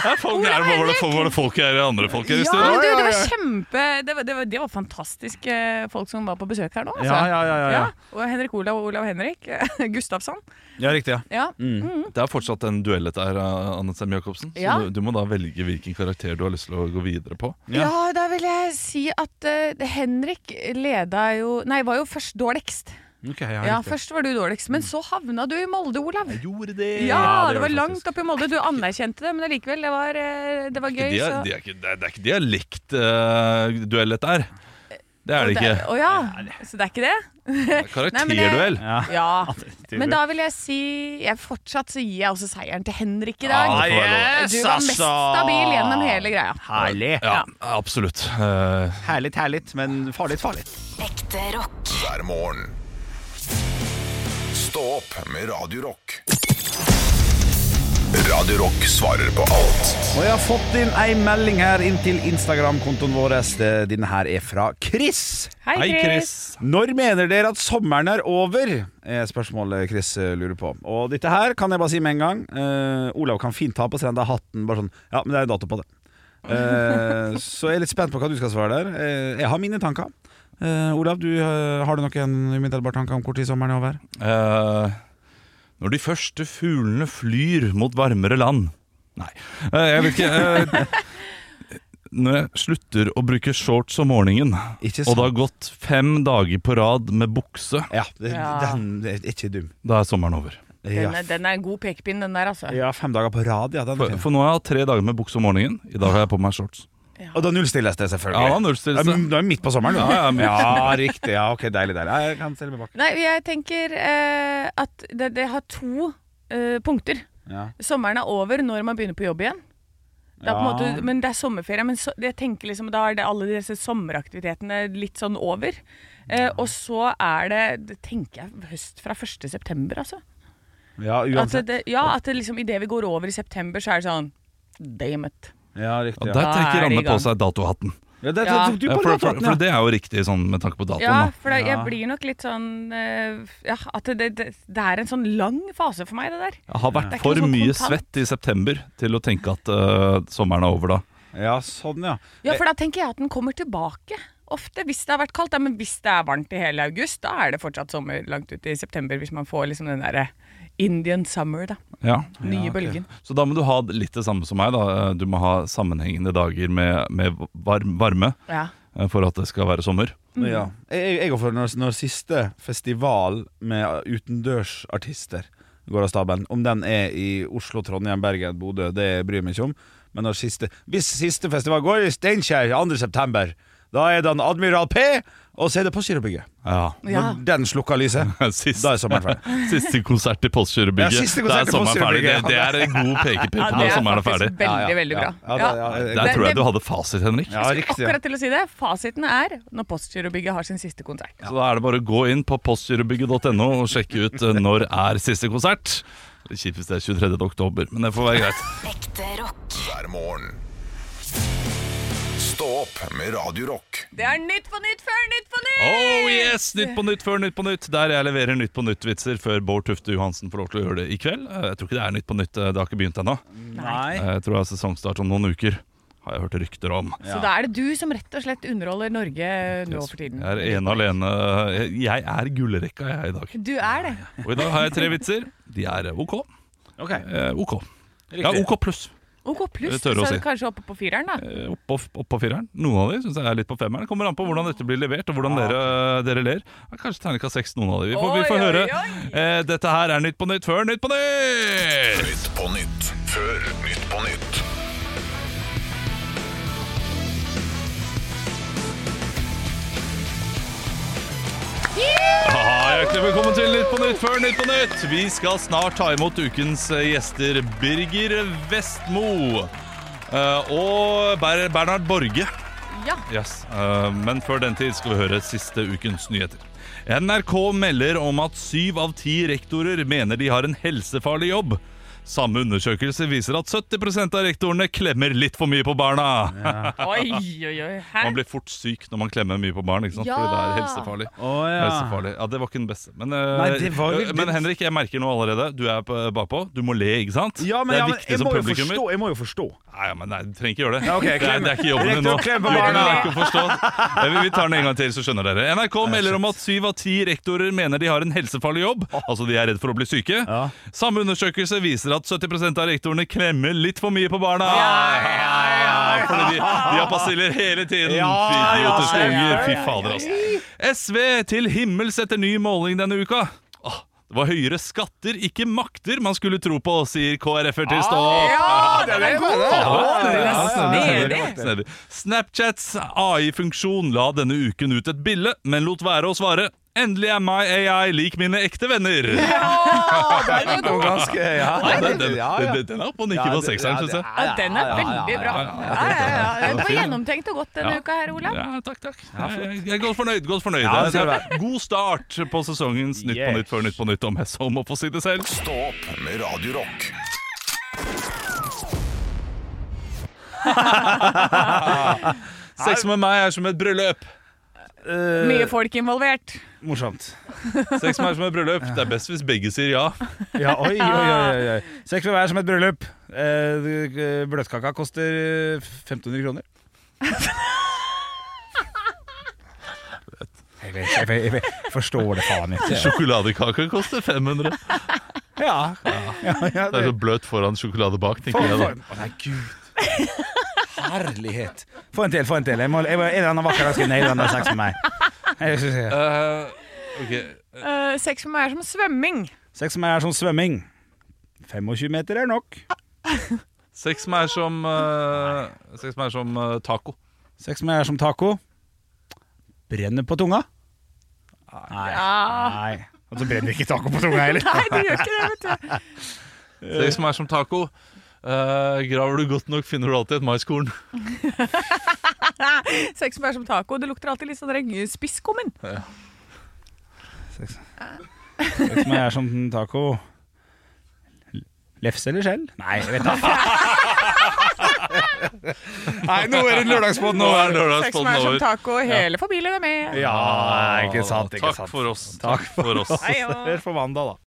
[SPEAKER 2] det er folk der hvor det, hvor det folk er andre folk her i
[SPEAKER 4] Ja,
[SPEAKER 2] stedet.
[SPEAKER 4] men du, det var kjempe Det var, det var, det var fantastiske folk som var på besøk her nå. Altså.
[SPEAKER 3] Ja, ja, ja, ja, ja.
[SPEAKER 4] Og Henrik Olav og Olav Henrik Gustavsson.
[SPEAKER 3] Ja, riktig.
[SPEAKER 4] Ja.
[SPEAKER 3] ja
[SPEAKER 2] Det er fortsatt en duell dette her, eh, Anne Sem Jacobsen. Så
[SPEAKER 4] Ja.
[SPEAKER 2] du, du må da velge hvilken karakter du har lyst til å gå videre på.
[SPEAKER 3] Ja.
[SPEAKER 4] Ja. da vil jeg si at eh, Henrik leda jo Nei, var jo først dårligst.
[SPEAKER 3] Ok, ja,
[SPEAKER 4] Ja,
[SPEAKER 3] riktig.
[SPEAKER 4] først var du dårligst, men så havna du i Molde, Olav.
[SPEAKER 2] Gjorde det!
[SPEAKER 4] Ja, det
[SPEAKER 3] det gjorde
[SPEAKER 4] var
[SPEAKER 3] du
[SPEAKER 4] langt opp i Molde. Du anerkjente det, men allikevel, det var, eh, det var gøy.
[SPEAKER 2] Det er,
[SPEAKER 4] Så.
[SPEAKER 2] det er, ikke, det er, det er ikke dialektduell, dette her. Det er det
[SPEAKER 4] Og
[SPEAKER 2] ikke.
[SPEAKER 4] Å ja, så det er ikke det? Nei, men jeg-
[SPEAKER 2] Karakterduell.
[SPEAKER 3] Ja.
[SPEAKER 4] Ja.
[SPEAKER 3] Tydeligvis.
[SPEAKER 4] Men da vil jeg si jeg Fortsatt så gir jeg også seieren til Henrik i dag.
[SPEAKER 3] Ah,
[SPEAKER 2] det får være lov.
[SPEAKER 3] yes,
[SPEAKER 4] Du var mest
[SPEAKER 3] altså.
[SPEAKER 4] stabil gjennom hele greia.
[SPEAKER 3] Herlig.
[SPEAKER 2] Ja, absolutt. Eh,
[SPEAKER 3] Herlig, herlig, men farlig, farlig.
[SPEAKER 10] Ekte rock.
[SPEAKER 1] hver morgen. Stå opp med Radio Rock. Radio Rock svarer på alt.
[SPEAKER 3] Og jeg har fått inn ei melding her inn til Instagram-kontoen vår. Det- Denne her er fra Chris.
[SPEAKER 4] Hei,
[SPEAKER 2] Hei,
[SPEAKER 4] Chris.
[SPEAKER 2] Chris.
[SPEAKER 3] Når mener dere at sommeren er over? er spørsmålet Chris eh, lurer på. Og dette her kan jeg bare si med en gang. Eh, Olav kan fint ta på stranda hatten. Bare sånn, ja, men det er en dato på det. Eh, så jeg er litt spent på hva du skal svare der. Eh, jeg har mine tanker. Eh, Olav, du, eh, har du noen umiddelbare tanker om hvor tid sommeren er over?
[SPEAKER 2] Eh, når de første fuglene flyr mot varmere land Nei, eh, jeg vet ikke. eh, når jeg slutter å bruke shorts om morgenen,
[SPEAKER 3] Ikke
[SPEAKER 2] og det
[SPEAKER 3] sant?
[SPEAKER 2] har gått fem dager på rad med bukse,
[SPEAKER 3] Ja, det,
[SPEAKER 4] Ja.
[SPEAKER 3] Den er ikke dum.
[SPEAKER 2] da er sommeren over.
[SPEAKER 4] Den
[SPEAKER 3] Ja,
[SPEAKER 4] er, den er en god pekepinn, den der, altså.
[SPEAKER 3] ja fem dager på rad, ja. Den er
[SPEAKER 2] For,
[SPEAKER 3] fin.
[SPEAKER 2] for nå har jeg hatt tre dager med bukse om morgenen. I dag har jeg på meg shorts.
[SPEAKER 3] Og da nullstilles det, selvfølgelig.
[SPEAKER 2] Ja, da nullstilles det.
[SPEAKER 3] Ja, men Du er midt på sommeren, du.
[SPEAKER 2] Ja, ja, midt.
[SPEAKER 3] Ja, riktig. Ja, ok, Deilig, deilig. Ja, Jeg kan stille meg bak.
[SPEAKER 4] Nei, jeg tenker eh, at det, det har to eh, punkter.
[SPEAKER 3] Ja.
[SPEAKER 4] Sommeren er over når man begynner på jobb igjen. Det er på en
[SPEAKER 3] Ja.
[SPEAKER 4] måte, men det er sommerferie. Men så, jeg tenker liksom, da er det alle disse sommeraktivitetene litt sånn over. Eh, og så er det, det tenker jeg, høst fra 1. september, altså.
[SPEAKER 3] Ja,
[SPEAKER 4] At
[SPEAKER 3] uansett.
[SPEAKER 4] det, ja, at det liksom idet vi går over i september, så er det sånn Damn it.
[SPEAKER 3] Ja, riktig.
[SPEAKER 2] Og
[SPEAKER 3] Ja.
[SPEAKER 2] der
[SPEAKER 4] Da
[SPEAKER 2] trekker
[SPEAKER 4] er de i
[SPEAKER 2] Anne på
[SPEAKER 4] gang.
[SPEAKER 2] seg datohatten.
[SPEAKER 3] Ja, det,
[SPEAKER 4] Ja.
[SPEAKER 3] tok du
[SPEAKER 2] Ja,
[SPEAKER 3] på
[SPEAKER 2] for, for,
[SPEAKER 3] låten,
[SPEAKER 2] for
[SPEAKER 3] ja.
[SPEAKER 2] det er jo riktig sånn, med tanke på datoen.
[SPEAKER 4] Ja,
[SPEAKER 2] da.
[SPEAKER 4] for da, jeg
[SPEAKER 3] Ja.
[SPEAKER 4] blir nok litt sånn eh, ja, At det, det, det er en sånn lang fase for meg, det der.
[SPEAKER 2] Jeg har vært
[SPEAKER 4] Det er ikke
[SPEAKER 2] for
[SPEAKER 4] noe sånn
[SPEAKER 2] mye
[SPEAKER 4] kontant.
[SPEAKER 2] svett i september til å tenke at eh, sommeren er over da.
[SPEAKER 3] Ja, sånn, ja.
[SPEAKER 4] Ja,
[SPEAKER 2] Eh.
[SPEAKER 4] for da tenker jeg at den kommer tilbake ofte, hvis det har vært kaldt. Ja, men hvis det er varmt i hele august, da er det fortsatt sommer langt ut i september, hvis man får liksom den derre Indian summer, da.
[SPEAKER 2] Ja.
[SPEAKER 4] Nye
[SPEAKER 3] ok.
[SPEAKER 4] bølgen.
[SPEAKER 2] Så da må du ha litt det samme som meg. da Eh, Du må ha sammenhengende dager med, med varm, varme
[SPEAKER 4] Ja.
[SPEAKER 2] eh, for at det skal være sommer.
[SPEAKER 4] Mm.
[SPEAKER 3] ja. Jeg, jeg går for når, når siste festival med utendørsartister går av stabelen. Om den er i Oslo, Trondheim, Bergen, Bodø, det bryr jeg meg ikke om. Men når siste, hvis siste festival går i Steinkjer 2.9., da er den Admiral P, og så er det Postgirobygget.
[SPEAKER 2] Ja.
[SPEAKER 4] Ja.
[SPEAKER 3] Når den slukker lyset,
[SPEAKER 2] Siste,
[SPEAKER 3] da er sommeren ferdig.
[SPEAKER 2] siste konsert i Postgirobygget.
[SPEAKER 3] Ja, siste
[SPEAKER 2] da
[SPEAKER 3] konsert
[SPEAKER 2] er
[SPEAKER 3] i
[SPEAKER 2] sommeren ferdig. Det,
[SPEAKER 3] Postgirobygget.
[SPEAKER 2] det er en god pekepinn på
[SPEAKER 4] det
[SPEAKER 2] når
[SPEAKER 4] er
[SPEAKER 2] sommeren er
[SPEAKER 4] faktisk
[SPEAKER 2] ferdig.
[SPEAKER 4] veldig, veldig bra.
[SPEAKER 3] Ja, ja,
[SPEAKER 4] Ja.
[SPEAKER 3] det- ja,
[SPEAKER 2] Der
[SPEAKER 4] det-
[SPEAKER 2] tror jeg
[SPEAKER 4] det-
[SPEAKER 2] du hadde fasit, Henrik.
[SPEAKER 3] ja, riktig.
[SPEAKER 4] Akkurat til å si det, fasiten er når Postgirobygget har sin siste konsert.
[SPEAKER 2] Så da er det bare å gå inn på postgirobygget.no og sjekke ut eh, når er siste konsert. Det Kjipt hvis det er 23. oktober, men det får være greit.
[SPEAKER 10] Ekte rock.
[SPEAKER 1] Hver morgen. Stå opp med Radio Rock.
[SPEAKER 4] Det er Nytt på nytt før Nytt på nytt!
[SPEAKER 2] Oh yes! Nytt på nytt før Nytt på nytt. Der jeg leverer Nytt på nytt-vitser før Bård Tufte Johansen får lov til å gjøre det i kveld. Eh, Jeg tror ikke det er Nytt på nytt, eh, det har ikke begynt ennå. Eh,
[SPEAKER 3] Nei.
[SPEAKER 2] Jeg tror det er sesongstart om noen uker, har jeg hørt rykter om.
[SPEAKER 4] Så da er det du som rett og slett underholder Norge nå for tiden.
[SPEAKER 2] Jeg er ene alene Jeg er gullrekka, jeg, i dag.
[SPEAKER 4] Du er det.
[SPEAKER 2] Og i dag har jeg tre vitser. De er OK.
[SPEAKER 3] Ok,
[SPEAKER 2] Eh, OK. Ja, OK pluss.
[SPEAKER 4] OK pluss,
[SPEAKER 2] Det
[SPEAKER 4] så
[SPEAKER 2] tør jeg å
[SPEAKER 4] er
[SPEAKER 2] si.
[SPEAKER 4] du kanskje oppe på fireren, da.
[SPEAKER 2] Eh, Opp på, opp på fireren. Noen av de syns jeg er litt på femmeren. Kommer an på hvordan dette blir levert, og hvordan dere, dere ler. Ja, Kanskje terningkast seks, noen av de. Vi får, vi får
[SPEAKER 4] Oi, oi,
[SPEAKER 2] høre.
[SPEAKER 4] oi.
[SPEAKER 2] Eh, Dette her er Nytt på nytt før Nytt på nytt!
[SPEAKER 1] Nytt på nytt før Nytt på nytt.
[SPEAKER 2] Ja, hjertelig velkommen til Nytt på Nytt før Nytt på Nytt. Vi skal snart ta imot ukens eh, gjester Birger Vestmo eh, og Ber Bernhard Borge.
[SPEAKER 4] Ja.
[SPEAKER 2] Yes. eh, Men før den tid skal vi høre siste ukens nyheter. NRK melder om at syv av ti rektorer mener de har en helsefarlig jobb. Samme undersøkelse viser at 70 av rektorene klemmer litt for mye på barna.
[SPEAKER 4] Oi, oi, oi. Hæ?
[SPEAKER 2] Man blir fort syk når man klemmer mye på barn, ikke sant?
[SPEAKER 4] Ja.
[SPEAKER 2] fordi det er helsefarlig.
[SPEAKER 3] Å, ja.
[SPEAKER 2] helsefarlig. Ja, Det var ikke den beste. Men, eh,
[SPEAKER 3] Nei, det var vel-
[SPEAKER 2] ja, men Henrik, jeg merker nå allerede. Du er på- bakpå. Du må le, ikke sant?
[SPEAKER 3] Ja, men,
[SPEAKER 2] det
[SPEAKER 3] ja,
[SPEAKER 2] er
[SPEAKER 3] men
[SPEAKER 2] viktig
[SPEAKER 3] jeg,
[SPEAKER 2] som
[SPEAKER 3] må jo
[SPEAKER 2] publikummer.
[SPEAKER 3] forstå, jeg må jo forstå.
[SPEAKER 2] Nei, ja, men nei, du trenger ikke gjøre det.
[SPEAKER 3] Ja, ok, jeg
[SPEAKER 2] det, er, det er ikke jobben
[SPEAKER 3] klemmer.
[SPEAKER 2] din nå.
[SPEAKER 3] Rektor, klem på
[SPEAKER 2] Jobben din
[SPEAKER 3] barna.
[SPEAKER 2] er ikke å forstå. Eh, Vi, vi tar den en gang til, så skjønner dere. NRK melder om at syv av ti rektorer mener de har en helsefarlig jobb. Altså de er redd for å bli syke.
[SPEAKER 3] Ja.
[SPEAKER 2] Samme undersøkelse viser at 70 av rektorene klemmer litt for mye på barna. Ja, fordi de, de har pasiller hele tiden.
[SPEAKER 3] Ja,
[SPEAKER 2] Fy
[SPEAKER 3] ja,
[SPEAKER 2] idiotiske
[SPEAKER 3] ja, ja,
[SPEAKER 2] unger. Fy fader, altså. SV til himmels etter ny måling denne uka. Åh, Det var høyere skatter, ikke makter, man skulle tro på, sier KrF-er
[SPEAKER 3] Ah,
[SPEAKER 2] til Stå.
[SPEAKER 4] Ja, den er god!
[SPEAKER 2] Ja,
[SPEAKER 4] Den er
[SPEAKER 2] snedig.
[SPEAKER 4] snedig.
[SPEAKER 2] Snedig. Snapchats AI-funksjon la denne uken ut et bilde, men lot være å svare. Endelig er my AI lik mine ekte venner.
[SPEAKER 3] Den er ganske ja,
[SPEAKER 2] Ja, den, den,
[SPEAKER 3] den- ja, ja.
[SPEAKER 2] den, den er oppe og nikker
[SPEAKER 3] Ja,
[SPEAKER 2] på
[SPEAKER 3] det-
[SPEAKER 2] sekseren,
[SPEAKER 3] ja,
[SPEAKER 2] syns
[SPEAKER 3] det-
[SPEAKER 2] jeg.
[SPEAKER 4] Ja, den er veldig bra. Ja, ja, ja. Det var
[SPEAKER 2] fin.
[SPEAKER 4] gjennomtenkt og godt denne
[SPEAKER 2] Ja.
[SPEAKER 4] uka her, Olav.
[SPEAKER 2] Ja, takk, takk. Jeg jeg er godt fornøyd. godt fornøyd
[SPEAKER 3] Ja, det
[SPEAKER 2] Det
[SPEAKER 3] skal
[SPEAKER 2] er-
[SPEAKER 3] du
[SPEAKER 2] God start på sesongens Nytt på
[SPEAKER 3] Yes.
[SPEAKER 2] nytt før Nytt på nytt, om jeg så må få si det selv.
[SPEAKER 1] Stå opp med Radio Rock.
[SPEAKER 2] Sex med meg er som et bryllup.
[SPEAKER 3] Eh,
[SPEAKER 4] Mye folk involvert.
[SPEAKER 3] Morsomt.
[SPEAKER 2] Sex med meg er som et bryllup. Det er best hvis begge sier ja.
[SPEAKER 3] Ja, oi, oi, oi, oi. Sex vil være som et bryllup. Eh, bløtkaka koster eh, 1500 kroner. Jeg, vet, jeg, vet, jeg vet, forstår det faen ikke.
[SPEAKER 2] Sjokoladekake koster 500.
[SPEAKER 3] Ja, ja, ja
[SPEAKER 2] Det er
[SPEAKER 3] det.
[SPEAKER 2] så bløt foran sjokolade bak, tenker
[SPEAKER 3] For,
[SPEAKER 2] jeg da.
[SPEAKER 3] for, å nei, gud. Herlighet. Få en til, få en til. Jeg må, jeg må, en eller annen vakker dag skal jeg naile den der sex med meg. Jeg synes jeg-
[SPEAKER 2] Eh, ok.
[SPEAKER 4] Eh, sex med meg er som svømming.
[SPEAKER 3] Sex med meg er som svømming. 25 meter er nok.
[SPEAKER 2] Sex med meg er som, eh, sex med meg er som eh, taco.
[SPEAKER 3] Sex med meg er som taco. Brenner på tunga. Nei. Nei. Og så brenner ikke taco på tunga heller.
[SPEAKER 4] Nei, det gjør ikke det, vet du.
[SPEAKER 2] Sex med meg er som taco. Eh, graver du godt nok, finner du alltid et maiskorn.
[SPEAKER 4] Sex med meg er som taco. Det lukter alltid litt sånn regn- spisskummen.
[SPEAKER 3] Sex. Sex med er som taco Lefse eller skjell? Nei, jeg vet da. Nei, nå er det lørdagsbåten
[SPEAKER 2] Nå er
[SPEAKER 4] Sex med
[SPEAKER 2] lørdagspodden
[SPEAKER 4] meg er som
[SPEAKER 2] over.
[SPEAKER 4] taco. Hele familien er med.
[SPEAKER 3] Ja, ikke sant, ikke
[SPEAKER 2] Takk
[SPEAKER 3] sant.
[SPEAKER 2] for oss.
[SPEAKER 3] Takk
[SPEAKER 2] for oss.
[SPEAKER 4] Hei, og-
[SPEAKER 3] for mandag, da.